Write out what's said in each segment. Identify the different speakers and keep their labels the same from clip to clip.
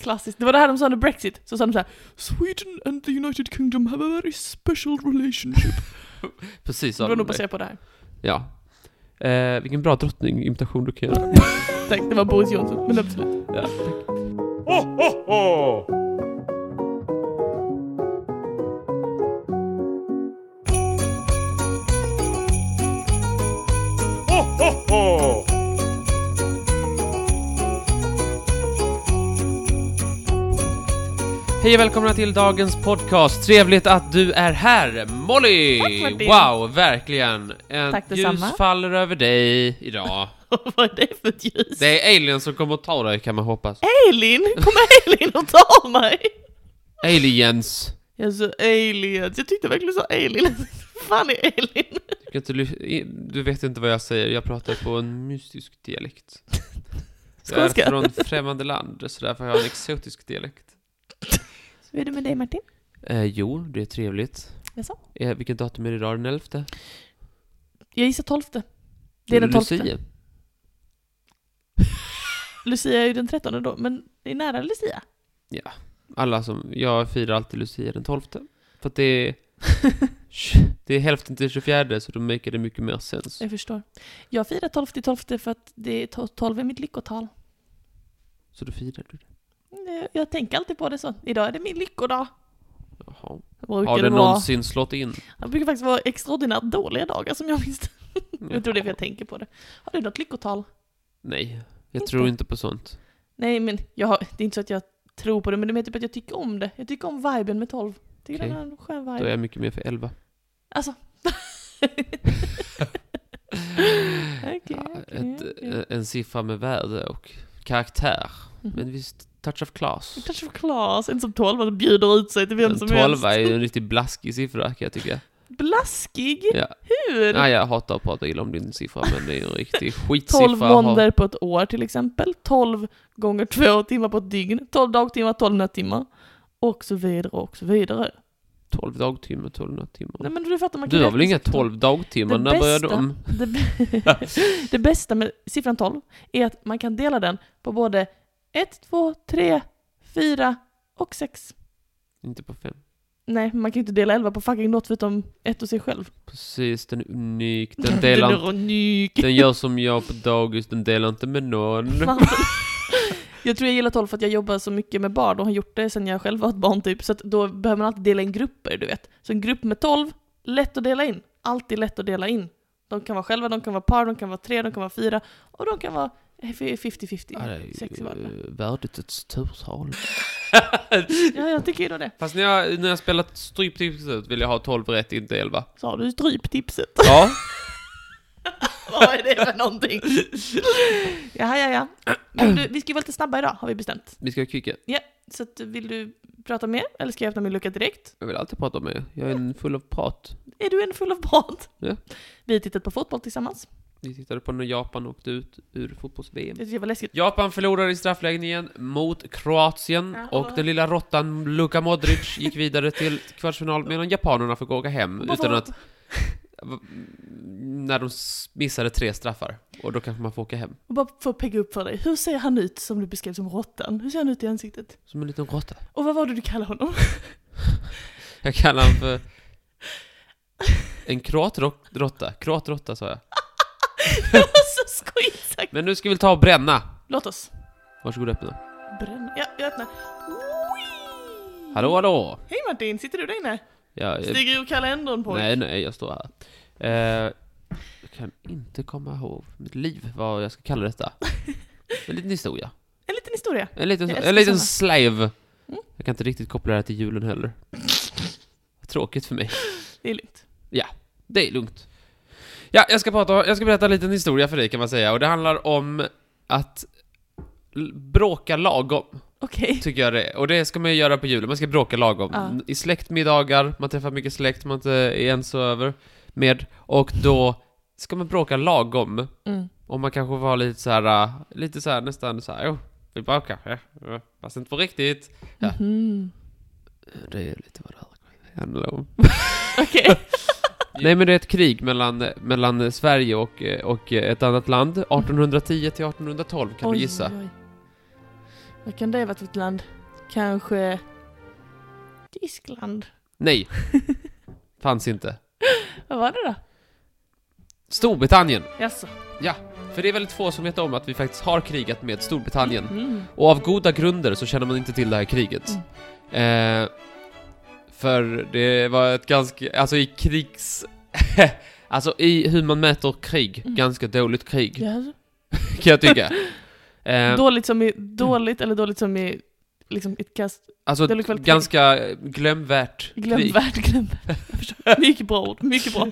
Speaker 1: klassiskt. Det var det här de sa under Brexit. Så sa de så här: Sweden and the United Kingdom have a very special relationship. Så
Speaker 2: Precis som...
Speaker 1: det var nog baserat på det här.
Speaker 2: Ja. Eh, vilken bra drottningimitation du kan göra.
Speaker 1: Tack, det var Boris Johnson. Men absolut.
Speaker 2: Ja. Hej och välkomna till dagens podcast. Trevligt att du är här, Molly!
Speaker 1: Tack, Martin.
Speaker 2: wow, verkligen. Ett
Speaker 1: Tack
Speaker 2: ljus
Speaker 1: detsamma.
Speaker 2: faller över dig idag.
Speaker 1: Vad är det för ett ljus?
Speaker 2: Det är aliens som kommer att ta dig kan man hoppas.
Speaker 1: Elin! Kommer Elin och tar mig?
Speaker 2: Aliens!
Speaker 1: Jag sa aliens. Jag tyckte verkligen du sa Elin. Fan är Elin?
Speaker 2: Du, kan inte, ly- du vet inte vad jag säger, jag pratar på en mystisk dialekt. Jag
Speaker 1: Skånska.
Speaker 2: är från främmande land, så därför har jag en exotisk dialekt.
Speaker 1: Hur är det med dig Martin?
Speaker 2: Eh, jo, det är trevligt.
Speaker 1: Jaså?
Speaker 2: Eh, vilket datum är det idag? Den 11?
Speaker 1: Jag gissar tolfte. Det är den tolfte.
Speaker 2: Lucia.
Speaker 1: Lucia är ju den trettonde då, men det är nära Lucia.
Speaker 2: Alla som, jag firar alltid Lucia den 12. För att det är... det är hälften till 24, så då maker det mycket mer sens.
Speaker 1: Jag förstår. Jag firar tolfte i tolfte för att det är to- tolv är mitt lyckotal.
Speaker 2: Så då firar du det.
Speaker 1: Jag- Eh, Jag tänker alltid på det så. Idag är det min lyckodag.
Speaker 2: Jaha.
Speaker 1: Det Brukar
Speaker 2: Har det
Speaker 1: vara-
Speaker 2: någonsin slått in?
Speaker 1: Det brukar faktiskt vara extraordinärt dåliga dagar som jag minns. Jag tror det är för
Speaker 2: Jaha.
Speaker 1: jag tänker på det. Har du något lyckotal?
Speaker 2: Nej, jag
Speaker 1: Inte.
Speaker 2: tror inte på sånt.
Speaker 1: Nej, men jag har, det är inte så att jag tror på det, men det är mer typ att jag tycker om det. Jag tycker om viben med 12. Tycker
Speaker 2: Okej.
Speaker 1: den har en skön vibe.
Speaker 2: Då är jag mycket mer för 11.
Speaker 1: Alltså. Okej,
Speaker 2: Ja,
Speaker 1: okej,
Speaker 2: ett, eh,
Speaker 1: okej.
Speaker 2: En siffra med värde och karaktär.
Speaker 1: Mhm.
Speaker 2: Men visst, touch of class.
Speaker 1: Touch of class, inte som 12 man bjuder ut sig till vem
Speaker 2: En
Speaker 1: som
Speaker 2: 12
Speaker 1: helst.
Speaker 2: är ju en riktigt blaskig siffra kan jag tycka.
Speaker 1: Blaskig?
Speaker 2: Ja.
Speaker 1: Hur?
Speaker 2: Nej, jag hatar att prata illa om din siffra, men det är en riktig
Speaker 1: 12
Speaker 2: skitsiffra. att ha.
Speaker 1: månader på ett år till exempel. 12 gånger 2 timmar på ett dygn. 12 dagtimmar, 12 nattimmar. Och så vidare och så vidare.
Speaker 2: 12 dagtimmar, 12 nattimmar.
Speaker 1: Nej men du fattar man kan
Speaker 2: du har
Speaker 1: räkna
Speaker 2: väl inga
Speaker 1: siffror.
Speaker 2: 12 dagtimmar?
Speaker 1: Det
Speaker 2: När börjar
Speaker 1: bästa-
Speaker 2: de?
Speaker 1: Det, b- det bästa med siffran 12 är att man kan dela den på både 1, 2, 3, 4 och 6.
Speaker 2: Inte på fem.
Speaker 1: Nej, man kan ju inte dela 11 på fucking något förutom ett och sig själv.
Speaker 2: Precis, den är unik. Den
Speaker 1: Den
Speaker 2: delar
Speaker 1: är unik.
Speaker 2: Den gör som jag på dagis, den delar inte med någon.
Speaker 1: Jag tror jag gillar 12 för att jag jobbar så mycket med barn och har gjort det sedan jag själv var ett barn typ. Så att då behöver man alltid dela in grupper, du vet. Så en grupp med 12, lätt att dela in. Alltid lätt att dela in. De kan vara själva, de kan vara par, de kan vara tre, de kan vara fyra och de kan vara
Speaker 2: Ja, det är
Speaker 1: 50-50. Sex i varje.
Speaker 2: ju eh, värdigt ett turtal.
Speaker 1: Ja, jag tycker ju då det.
Speaker 2: Fast när jag, när jag spelat Stryptipset ut vill jag ha 12 rätt, inte 11.
Speaker 1: Så har du stryptipset.
Speaker 2: Ja.
Speaker 1: Vad är det för någonting? Jaha, ja, ja. Men du, vi ska ju vara lite snabba idag, har vi bestämt.
Speaker 2: Vi ska vara kvicka.
Speaker 1: Så att, vill du prata mer, eller ska jag öppna min lucka direkt?
Speaker 2: Jag vill alltid prata med er. Jag är en full av prat.
Speaker 1: Är du en full av prat?
Speaker 2: Ja.
Speaker 1: Vi har tittat på fotboll tillsammans.
Speaker 2: Vi tittade på när Japan åkte ut ur fotbolls-VM.
Speaker 1: Det tyckte jag var läskigt.
Speaker 2: Japan förlorade i strafflägen igen mot Kroatien
Speaker 1: Ja.
Speaker 2: och den lilla råttan Luka Modric gick vidare till kvartsfinal medan japanerna fick åka hem utan att... När de s- missade tre straffar. Och då kanske man får åka hem.
Speaker 1: Och bara för att pegga upp för dig. Hur ser han ut som du beskrev som råttan? Hur ser han ut i ansiktet?
Speaker 2: Som en liten råtta.
Speaker 1: Och vad var det du kallade honom?
Speaker 2: Jag kallar honom för... En kroatråtta. Kroatråtta sa jag.
Speaker 1: Det var så skojigt sagt!
Speaker 2: Men nu ska vi ta och bränna.
Speaker 1: Låt oss
Speaker 2: Varsågod och öppna.
Speaker 1: bränna. Ja, jag öppnar.
Speaker 2: Hallå, hallå!
Speaker 1: Hej Martin, sitter du där inne?
Speaker 2: Jag,
Speaker 1: Stiger ur kalendern på
Speaker 2: nej, nej, jag står här. Eh, jag kan inte komma ihåg mitt liv, vad jag ska kalla detta. En liten historia.
Speaker 1: En liten historia.
Speaker 2: En liten,
Speaker 1: Jag
Speaker 2: en
Speaker 1: älskar
Speaker 2: liten
Speaker 1: såna.
Speaker 2: slave.
Speaker 1: Mm.
Speaker 2: Jag kan inte riktigt koppla det här till julen heller. Tråkigt för mig.
Speaker 1: Det är lugnt.
Speaker 2: Det är lugnt. Ja, jag ska, prata, jag ska berätta en liten historia för dig kan man säga, och det handlar om att l- bråka lagom,
Speaker 1: Okej.
Speaker 2: tycker jag det är. Och det ska man ju göra på julen, man ska bråka lagom.
Speaker 1: Ja.
Speaker 2: I släktmiddagar, man träffar mycket släkt man inte är ens över med, och då ska man bråka lagom.
Speaker 1: Mm.
Speaker 2: Och man kanske var lite så här, äh, lite så här nästan så här, oh, vi bråkar, ja, ja, fast inte på riktigt. Ja.
Speaker 1: Mhm.
Speaker 2: Det är lite vad det här handlar om.
Speaker 1: Okej.
Speaker 2: Nej men det är ett krig mellan, mellan Sverige och, och ett annat land. 1810 till 1812 kan du
Speaker 1: Oj,
Speaker 2: gissa.
Speaker 1: oj, oj. Vad kan det vara för ett land? Kanske Tyskland?
Speaker 2: Nej. Fanns inte.
Speaker 1: Vad var det då?
Speaker 2: Storbritannien.
Speaker 1: Jaså?
Speaker 2: För det är väldigt få som vet om att vi faktiskt har krigat med Storbritannien.
Speaker 1: Mm.
Speaker 2: Och av goda grunder så känner man inte till det här kriget.
Speaker 1: Mm.
Speaker 2: Eh, för det var ett ganska, alltså i krigs... alltså i hur man mäter krig,
Speaker 1: Mm.
Speaker 2: ganska dåligt krig
Speaker 1: Jaså?
Speaker 2: kan jag tycka. Eh,
Speaker 1: Dåligt som i dåligt eller dåligt som i liksom ett kast?
Speaker 2: alltså
Speaker 1: dålig
Speaker 2: ett
Speaker 1: kvalitet.
Speaker 2: ganska glömvärt krig.
Speaker 1: Glömvärt, glömvärt. Jag förstår. Mycket bra ord, mycket bra.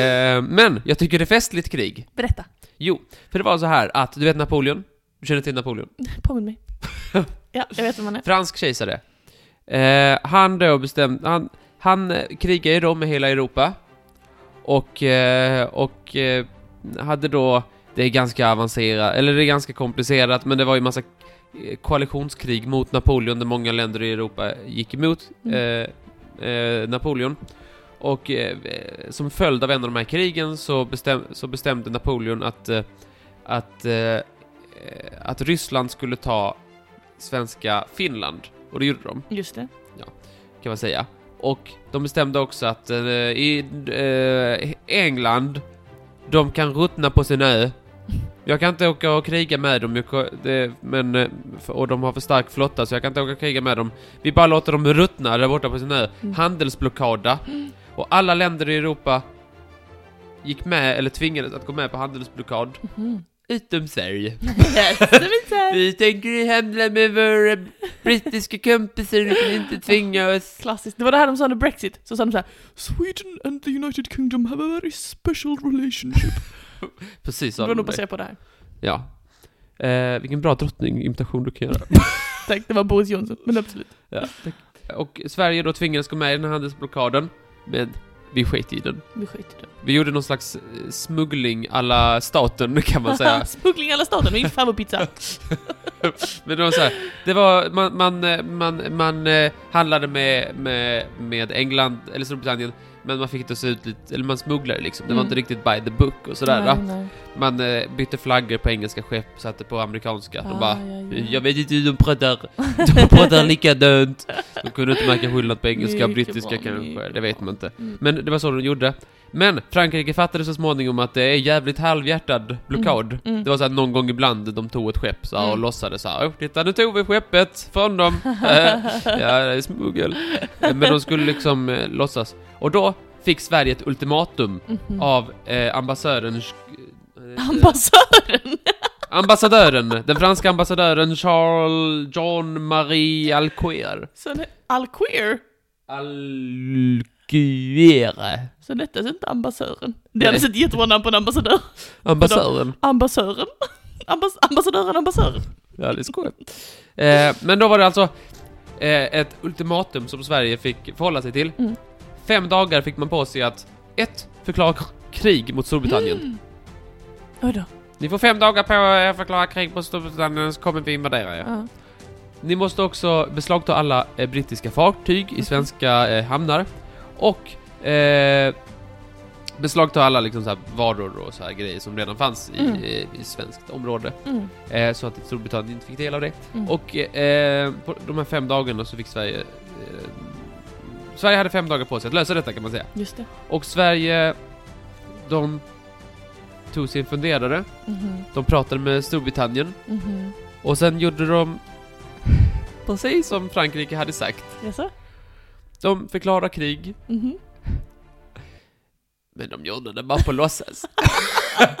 Speaker 2: Eh, men jag tycker det är festligt krig.
Speaker 1: Berätta.
Speaker 2: Jo, för det var så här att, du vet Napoleon? Du känner till Napoleon?
Speaker 1: Påminn mig. Ja, jag vet vem man är.
Speaker 2: Fransk kejsare. Eh, han då bestämde, han, han eh, krigade ju då med hela Europa. Och, eh, och eh, hade då, det är ganska avancerat, eller det är ganska komplicerat, men det var ju massa eh, koalitionskrig mot Napoleon där många länder i Europa gick emot eh, eh, Napoleon. Och eh, eh, som följd av en av de här krigen så, bestäm, så bestämde Napoleon att, eh, att, eh, eh, att Ryssland skulle ta svenska Finland. Och det gjorde de
Speaker 1: Just det.
Speaker 2: kan man säga. Och de bestämde också att eh, i eh, England, de kan ruttna på sin ö. Jag kan inte åka och kriga med dem, jag, ko- det, men, eh, för- och de har för stark flotta så jag kan inte åka och kriga med dem. Vi bara låter dem ruttna där borta på sin ö.
Speaker 1: Mm.
Speaker 2: Handelsblockada. Och alla länder i Europa gick med, eller tvingades att gå med på handelsblockad.
Speaker 1: Mm.
Speaker 2: Utom Sverige.
Speaker 1: Yes, det är inte.
Speaker 2: Vi tänker handla med våra brittiska kompisar, ni kan inte tvinga oss.
Speaker 1: Klassiskt. Det var det här de sa under Brexit. Så sa de så här: Sweden and the United Kingdom have a very special relationship.
Speaker 2: Precis
Speaker 1: Det
Speaker 2: sa
Speaker 1: var
Speaker 2: de
Speaker 1: nog
Speaker 2: det.
Speaker 1: baserat på det här.
Speaker 2: Ja. Eh, vilken bra drottningimitation du kan göra.
Speaker 1: Tack, det var Boris Johnson. Men absolut.
Speaker 2: Och Sverige då tvingades gå med i den här handelsblockaden, men vi sket i den.
Speaker 1: Vi skiter i det.
Speaker 2: Vi gjorde någon slags eh, smuggling alla staten kan man säga.
Speaker 1: Smuggling alla staten och in favoritpizza.
Speaker 2: Men det var så här, det var, man, man, eh, man, man eh, handlade med, med, med England, eller Storbritannien, men man fick inte se ut lite, eller man smugglade liksom. Det var
Speaker 1: Mm.
Speaker 2: inte riktigt by the book och sådär. va?
Speaker 1: nej.
Speaker 2: Man eh, bytte flaggor på engelska skepp, satte på amerikanska. De bara,
Speaker 1: Ah, ja, ja.
Speaker 2: Eh, Jag vet inte hur de pratar. De pratar likadant. De kunde inte märka skillnad på engelska och
Speaker 1: Mycket
Speaker 2: brittiska
Speaker 1: bra,
Speaker 2: kanske.
Speaker 1: mycket
Speaker 2: Det vet
Speaker 1: bra.
Speaker 2: man inte.
Speaker 1: Mm.
Speaker 2: Men det var så de gjorde. Men Frankrike fattade så småningom att det är jävligt halvhjärtad blockad.
Speaker 1: Mm.
Speaker 2: Det var så att någon gång ibland de tog ett skepp så här, och
Speaker 1: Mm.
Speaker 2: låtsades så här, "Åh, titta nu tog vi skeppet från dem. Eh, ja, det är smuggel. Eh, Men de skulle liksom eh, låtsas. Och då fick Sverige ett ultimatum
Speaker 1: Mhm.
Speaker 2: av eh, ambassadören... eh,
Speaker 1: Ambassadören!
Speaker 2: Ambassadören, den franska ambassadören Charles John Marie Alcoer.
Speaker 1: Så det- Alqueer.
Speaker 2: Alcoer.
Speaker 1: Så detta är inte ambassadören. Det hade sett jättebra namn på en ambassadör.
Speaker 2: Ambassadören.
Speaker 1: Ambassadören. Ambass ambassadören, ambassadören.
Speaker 2: Ja, det är skoj. Eh, men då var det alltså eh, ett ultimatum som Sverige fick förhålla sig till.
Speaker 1: Mm.
Speaker 2: Fem dagar fick man på sig att ett, Förklara k- krig mot Storbritannien.
Speaker 1: Oj då.
Speaker 2: Ni får fem dagar på er att förklara krig mot Storbritannien så kommer vi invadera er.
Speaker 1: Ja.
Speaker 2: Ni måste också beslagta alla eh, brittiska fartyg i svenska eh, hamnar. Och eh, beslagta alla liksom, så här, varor och så här grejer som redan fanns i,
Speaker 1: Mm.
Speaker 2: eh, i svenskt område.
Speaker 1: Mm.
Speaker 2: Eh, så att Storbritannien inte fick del av det.
Speaker 1: Mm.
Speaker 2: Och eh, på de här fem dagarna så fick Sverige... Eh, Sverige hade fem dagar på sig att lösa detta kan man säga.
Speaker 1: Just det.
Speaker 2: Och Sverige... De tog sin funderare.
Speaker 1: Mhm.
Speaker 2: De pratade med Storbritannien.
Speaker 1: Mhm.
Speaker 2: Och sen gjorde de precis som Frankrike hade sagt.
Speaker 1: Jaså?
Speaker 2: De förklarar krig,
Speaker 1: Mhm.
Speaker 2: men de gjorde det bara på låtsas.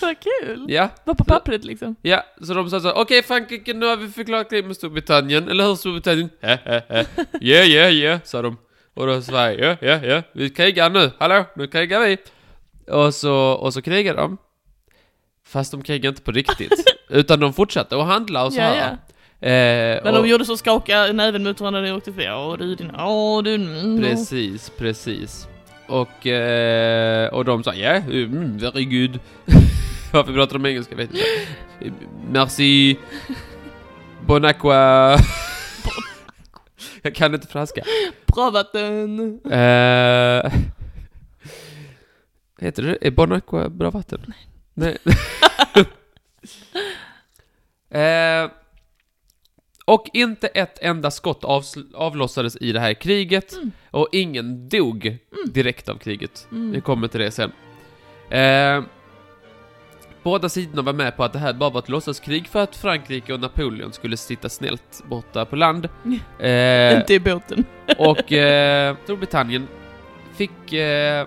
Speaker 1: Vad kul!
Speaker 2: Ja,
Speaker 1: Var på pappret liksom.
Speaker 2: ja, så de sa så okej Frankrike, nu har vi förklarat krig med Storbritannien, eller hur Storbritannien? He, he, he. Ja, ja, ja, sa de. Och då Sverige, ja, ja, ja, vi krigar nu, hallå, nu krigar vi. Och så, och så krigar de. Fast de krigar inte på riktigt, utan de fortsatte att handla och så här. Eh,
Speaker 1: Men
Speaker 2: och,
Speaker 1: de gjorde så skaka näven mot varandra när de åkte förbi. Åh du din, åh du... Mm.
Speaker 2: Precis, precis. Och, eh, och de sa ja, yeah, mm, very good. Varför pratar de engelska? Vet inte. Eh, Merci. Bon aqua. Jag kan inte franska.
Speaker 1: Bra vatten!
Speaker 2: Eh, heter det? Är bon aqua bra vatten? Nej. Eh, Och inte ett enda skott avsl- avlossades i det här kriget
Speaker 1: Mm.
Speaker 2: och ingen dog direkt av kriget. Vi
Speaker 1: Mm.
Speaker 2: kommer till det sen. Eh, båda sidorna var med på att det här bara var ett låtsaskrig för att Frankrike och Napoleon skulle sitta snällt borta på land. Eh,
Speaker 1: Inte i båten.
Speaker 2: och eh, Storbritannien fick eh,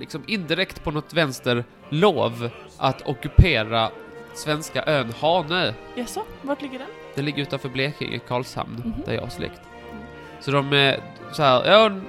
Speaker 2: liksom indirekt på något vänster lov att ockupera svenska ön Hanö.
Speaker 1: Jaså, vart ligger den?
Speaker 2: Den ligger utanför Blekinge, Karlshamn,
Speaker 1: Mhm.
Speaker 2: där jag har släkt.
Speaker 1: Mm.
Speaker 2: Så de, eh, så här, ja, de,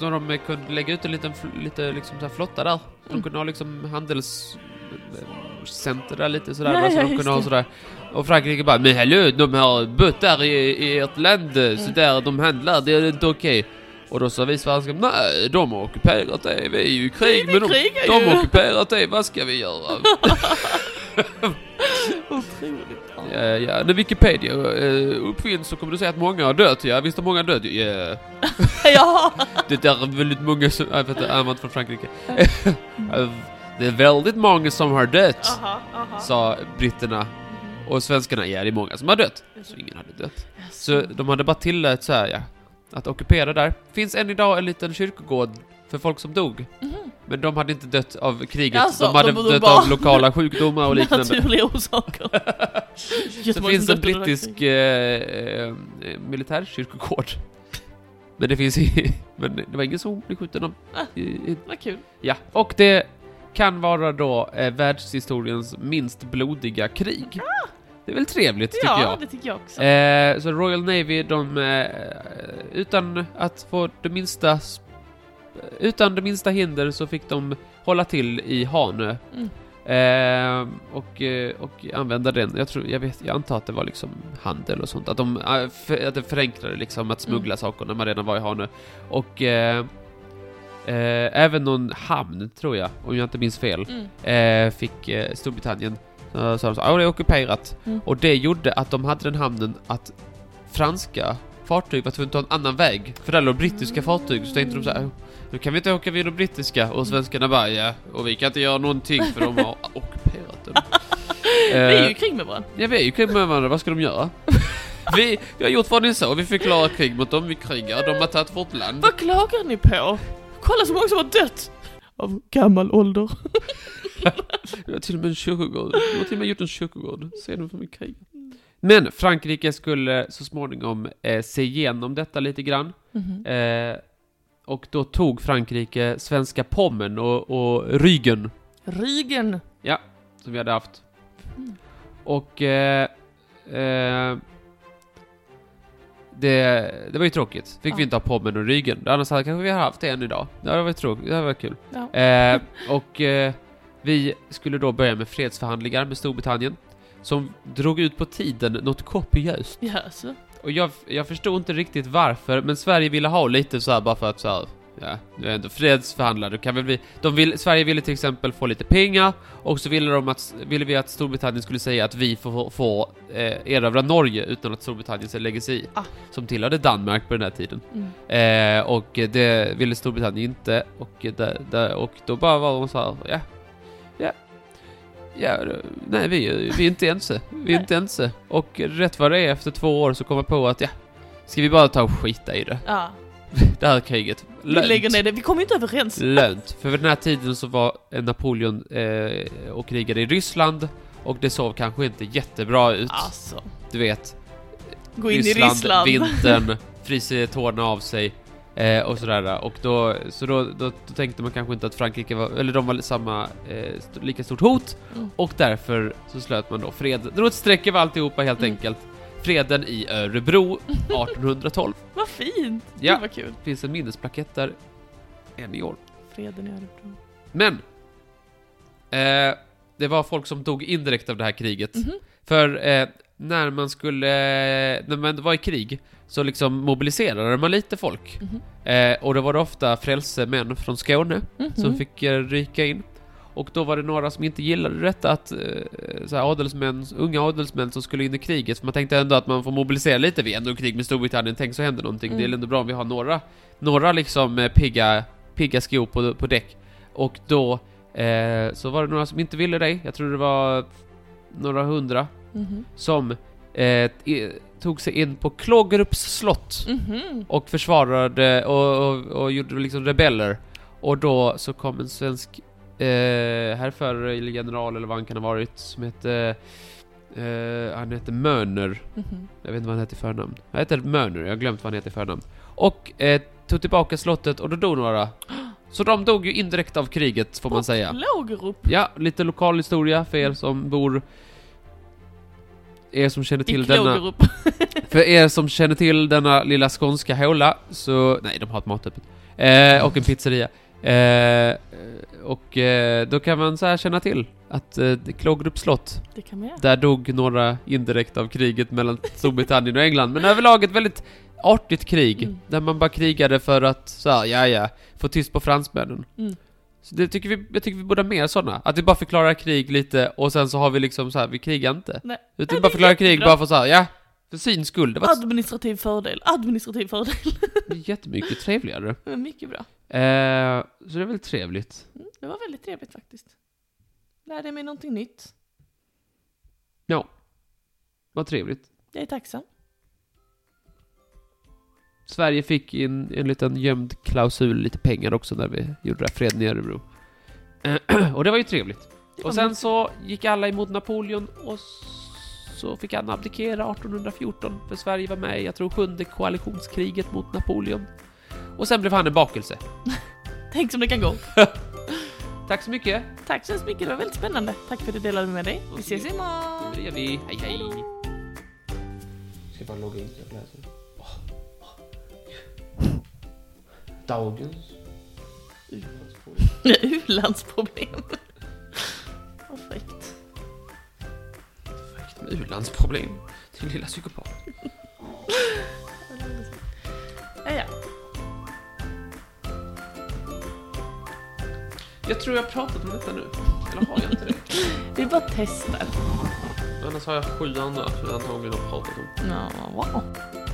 Speaker 2: de, de eh, kunde lägga ut en liten, fl- lite liksom så här flotta där. De
Speaker 1: Mm.
Speaker 2: kunde ha liksom handelscenter där lite sådär.
Speaker 1: Ja,
Speaker 2: va, så
Speaker 1: ja,
Speaker 2: de
Speaker 1: just
Speaker 2: kunde ha
Speaker 1: det.
Speaker 2: sådär. Och Frankrike bara, men hallå, de har bötter i, i ert land, eh, så
Speaker 1: Mm.
Speaker 2: där de handlar, det är inte okej. Och då sa vi svenskar, nej, de har ockuperat det, vi är ju i krig
Speaker 1: Vi
Speaker 2: med dem.
Speaker 1: krigar
Speaker 2: De har
Speaker 1: ju!
Speaker 2: ockuperat det, vad ska vi göra?
Speaker 1: Otroligt. Ja.
Speaker 2: Ja, ja, när Wikipedia uh, uppfinns så kommer du säga att många har dött, ja visst har många dött, ja.
Speaker 1: ja.
Speaker 2: Det där är väldigt många som, jag vet inte, han var inte från Frankrike. Eh, det är väldigt många som har dött,
Speaker 1: Aha, aha.
Speaker 2: sa britterna.
Speaker 1: Mhm.
Speaker 2: Och svenskarna, ja det är många som har dött.
Speaker 1: Mm-hmm.
Speaker 2: Så ingen hade dött. Så de hade bara tillät så här, ja, att ockupera där. Finns än idag en liten kyrkogård för folk som dog.
Speaker 1: Mhm.
Speaker 2: Men de hade inte dött av kriget,
Speaker 1: Alltså,
Speaker 2: de hade
Speaker 1: de- de
Speaker 2: dött
Speaker 1: bara-
Speaker 2: av lokala sjukdomar och liknande.
Speaker 1: Naturliga orsaker.
Speaker 2: Det
Speaker 1: Jättemånga
Speaker 2: finns
Speaker 1: som
Speaker 2: en
Speaker 1: dött under det här
Speaker 2: brittisk
Speaker 1: kriget.
Speaker 2: eh, eh, militärkyrkogård. Men det finns i, Men det var ingen som blev skjuten om.
Speaker 1: Ah.
Speaker 2: I, i,
Speaker 1: Vad kul.
Speaker 2: ja, och det kan vara då eh, världshistoriens minst blodiga krig. Det är väl trevligt, tycker
Speaker 1: Ah. Ja,
Speaker 2: jag.
Speaker 1: det tycker jag också.
Speaker 2: Eh, så Royal Navy, de... Eh, utan att få det minsta... sp- Utan det minsta hinder så fick de hålla till i Hanö.
Speaker 1: Mm.
Speaker 2: Eh, och, eh, och använda den. Jag, tror, jag, vet, jag antar att det var liksom handel och sånt. Att de eh, för, att det förenklade liksom att smuggla
Speaker 1: Mm.
Speaker 2: saker när man redan var i Hanö. Och eh, eh, även någon hamn, tror jag, om jag inte minns fel,
Speaker 1: Mm.
Speaker 2: eh, fick eh, Storbritannien. Så, så de sa "Ah, det är ockuperat.
Speaker 1: Mm.
Speaker 2: Och det gjorde att de hade den hamnen att franska fartyg var tvungna att ta en annan väg. För där låg brittiska fartyg, så tänkte de så här. "Oh, Nu kan vi inte åka vid de brittiska. Och svenskarna bara ja, och vi kan inte göra någonting för de har ockuperat den.
Speaker 1: Vi är ju
Speaker 2: eh,
Speaker 1: i krig med varandra.
Speaker 2: ja, vi är ju krig med varandra, vad ska de göra? vi, vi har gjort vad ni sa, vi förklarar krig mot dem, vi krigar, de har tagit vårt land.
Speaker 1: Vad klagar ni på? Kolla så många som har dött! Av gammal ålder.
Speaker 2: Vi har till och med en kyrkogård. Vi har till och med gjort en kyrkogård. Ser du som en krig? Men Frankrike skulle så småningom eh, se igenom detta lite grann.
Speaker 1: Mm-hmm.
Speaker 2: Eh, och då tog Frankrike svenska Pommern och, och Rügen,
Speaker 1: Rygen.
Speaker 2: som vi hade haft.
Speaker 1: Mm.
Speaker 2: Och... Eh, eh, det, det var ju tråkigt. Fick
Speaker 1: Ja.
Speaker 2: vi inte ha Pommern och Rügen. Annars hade kanske vi hade haft det än idag. Det hade varit tråkigt. Det hade varit kul.
Speaker 1: Ja.
Speaker 2: Eh, och eh, vi skulle då börja med fredsförhandlingar med Storbritannien. Som drog ut på tiden något kopiöst.
Speaker 1: Jaså?
Speaker 2: Och jag, jag förstod inte riktigt varför, men Sverige ville ha lite så här bara för att så här, ja, du är ändå fredsförhandlare, du kan väl vi, de vill, Sverige ville till exempel få lite pengar, och så ville de att, ville vi att Storbritannien skulle säga att vi får, får eh, erövra Norge utan att Storbritannien så lägger sig i.
Speaker 1: Ah.
Speaker 2: Som tillhörde Danmark på den här tiden.
Speaker 1: Mm.
Speaker 2: Eh, och det ville Storbritannien inte och, där, där, och då bara var de så här, ja, ja, ja, det- nej vi, är- vi är inte ense, vi är inte ense. Och rätt vad det är efter två år så kommer jag på att ja, ska vi bara ta och skita i det,
Speaker 1: Ja.
Speaker 2: det här kriget.
Speaker 1: Vi lägger ner det. Vi kommer ju inte överens.
Speaker 2: Lönt. För vid den här tiden så var eh, Napoleon eh, och krigade i Ryssland och det såg kanske inte jättebra ut.
Speaker 1: Alltså.
Speaker 2: Du vet,
Speaker 1: Gå in i Ryssland.
Speaker 2: vintern, fryser tårna av sig eh, och sådär. Och då, så då, då, då tänkte man kanske inte att Frankrike var, eller de var samma, eh, st- lika stort hot
Speaker 1: Mm.
Speaker 2: och därför så slöt man då fred, drog ett streck över alltihopa helt
Speaker 1: Mm.
Speaker 2: enkelt. Freden i Örebro 1812.
Speaker 1: Vad fint!
Speaker 2: Ja.
Speaker 1: Gud vad kul.
Speaker 2: Finns en minnesplakett där än i år.
Speaker 1: Freden i Örebro.
Speaker 2: Men! Eh, det var folk som dog indirekt av det här kriget.
Speaker 1: Mhm.
Speaker 2: För eh, när man skulle, eh, när man ändå var i krig, så liksom mobiliserade man lite folk.
Speaker 1: Mhm.
Speaker 2: Eh, och då var det ofta frälsemän från Skåne
Speaker 1: Mhm.
Speaker 2: som fick eh, ryka in. Och då var det några som inte gillade detta att eh, så här, adelsmän, unga adelsmän som skulle in i kriget, för man tänkte ändå att man får mobilisera lite, vi är ändå i krig med Storbritannien, tänk så händer någonting,
Speaker 1: Mm.
Speaker 2: det är ändå bra om vi har några, några liksom eh, pigga, pigga skor på, på däck. Och då eh, så var det några som inte
Speaker 1: Mm-hmm.
Speaker 2: ville det, jag tror det var några hundra,
Speaker 1: Mhm.
Speaker 2: som eh, i- tog sig in på Klågerups slott
Speaker 1: Mhm.
Speaker 2: och försvarade och, och, och gjorde liksom rebeller. Och då så kom en svensk eh, härförare, eller general eller vad han kan ha varit, som hette... Eh, han hette Mörner.
Speaker 1: Mhm.
Speaker 2: Jag vet inte vad han hette i förnamn. Han hette Mörner, jag har glömt vad han hette i förnamn. Och eh, tog tillbaka slottet och då dog några. Så de dog ju indirekt av kriget, får man
Speaker 1: Och
Speaker 2: säga.
Speaker 1: Klågerup.
Speaker 2: Ja, lite lokal historia för er som bor... Er som känner
Speaker 1: I
Speaker 2: till denna...
Speaker 1: Klågerup.
Speaker 2: För er som känner till denna lilla skånska håla, så... Nej, de har ett matöppet. Eh, och en pizzeria. Eh, och eh, då kan man så här känna till att eh, Klågerups slott,
Speaker 1: Det kan man göra.
Speaker 2: där dog några indirekt av kriget mellan Storbritannien och England. Men överlag ett väldigt artigt krig,
Speaker 1: Mm.
Speaker 2: där man bara krigade för att, så här, ja ja, få tyst på fransmännen.
Speaker 1: Mm.
Speaker 2: Så det tycker vi, jag tycker vi borde ha mer sådana. Att vi bara förklarar krig lite och sen så har vi liksom så här, vi krigar inte.
Speaker 1: Nej. Nej,
Speaker 2: Utan vi bara
Speaker 1: det är
Speaker 2: förklarar krig
Speaker 1: jättebra.
Speaker 2: bara för så här, ja, för syns skull. Det var
Speaker 1: Administrativ fördel. Administrativ fördel.
Speaker 2: jättemycket trevligare.
Speaker 1: Det var mycket bra.
Speaker 2: Eh, så det är väl trevligt.
Speaker 1: Mm, Det var väldigt trevligt faktiskt. Lärde mig någonting nytt.
Speaker 2: Vad trevligt.
Speaker 1: Jag är tacksam.
Speaker 2: Sverige fick in en liten gömd klausul, lite pengar också när vi gjorde det här freden i Örebro. Eh, och det var ju trevligt.
Speaker 1: Det var
Speaker 2: Och sen
Speaker 1: mysigt.
Speaker 2: så gick alla emot Napoleon och så fick han abdikera 1814 för Sverige var med i, jag tror, sjunde koalitionskriget mot Napoleon. Och sen blev han en bakelse.
Speaker 1: Tänk som det kan gå.
Speaker 2: Tack så mycket.
Speaker 1: Tack så hemskt mycket, det var väldigt spännande. Tack för att du delade med dig. Vi ses imorgon!
Speaker 2: Det gör vi. Hej hej. Ska bara logga in så jag läser. Dagens.
Speaker 1: U-landsproblem. Vad fräckt.
Speaker 2: U-landsproblem. Din lilla psykopat.
Speaker 1: Ja, ja.
Speaker 2: Jag tror jag har pratat om detta nu. Eller har jag inte det?
Speaker 1: Vi bara testar.
Speaker 2: Annars har jag sju andra som jag antagligen har pratat om.
Speaker 1: Ja, wow.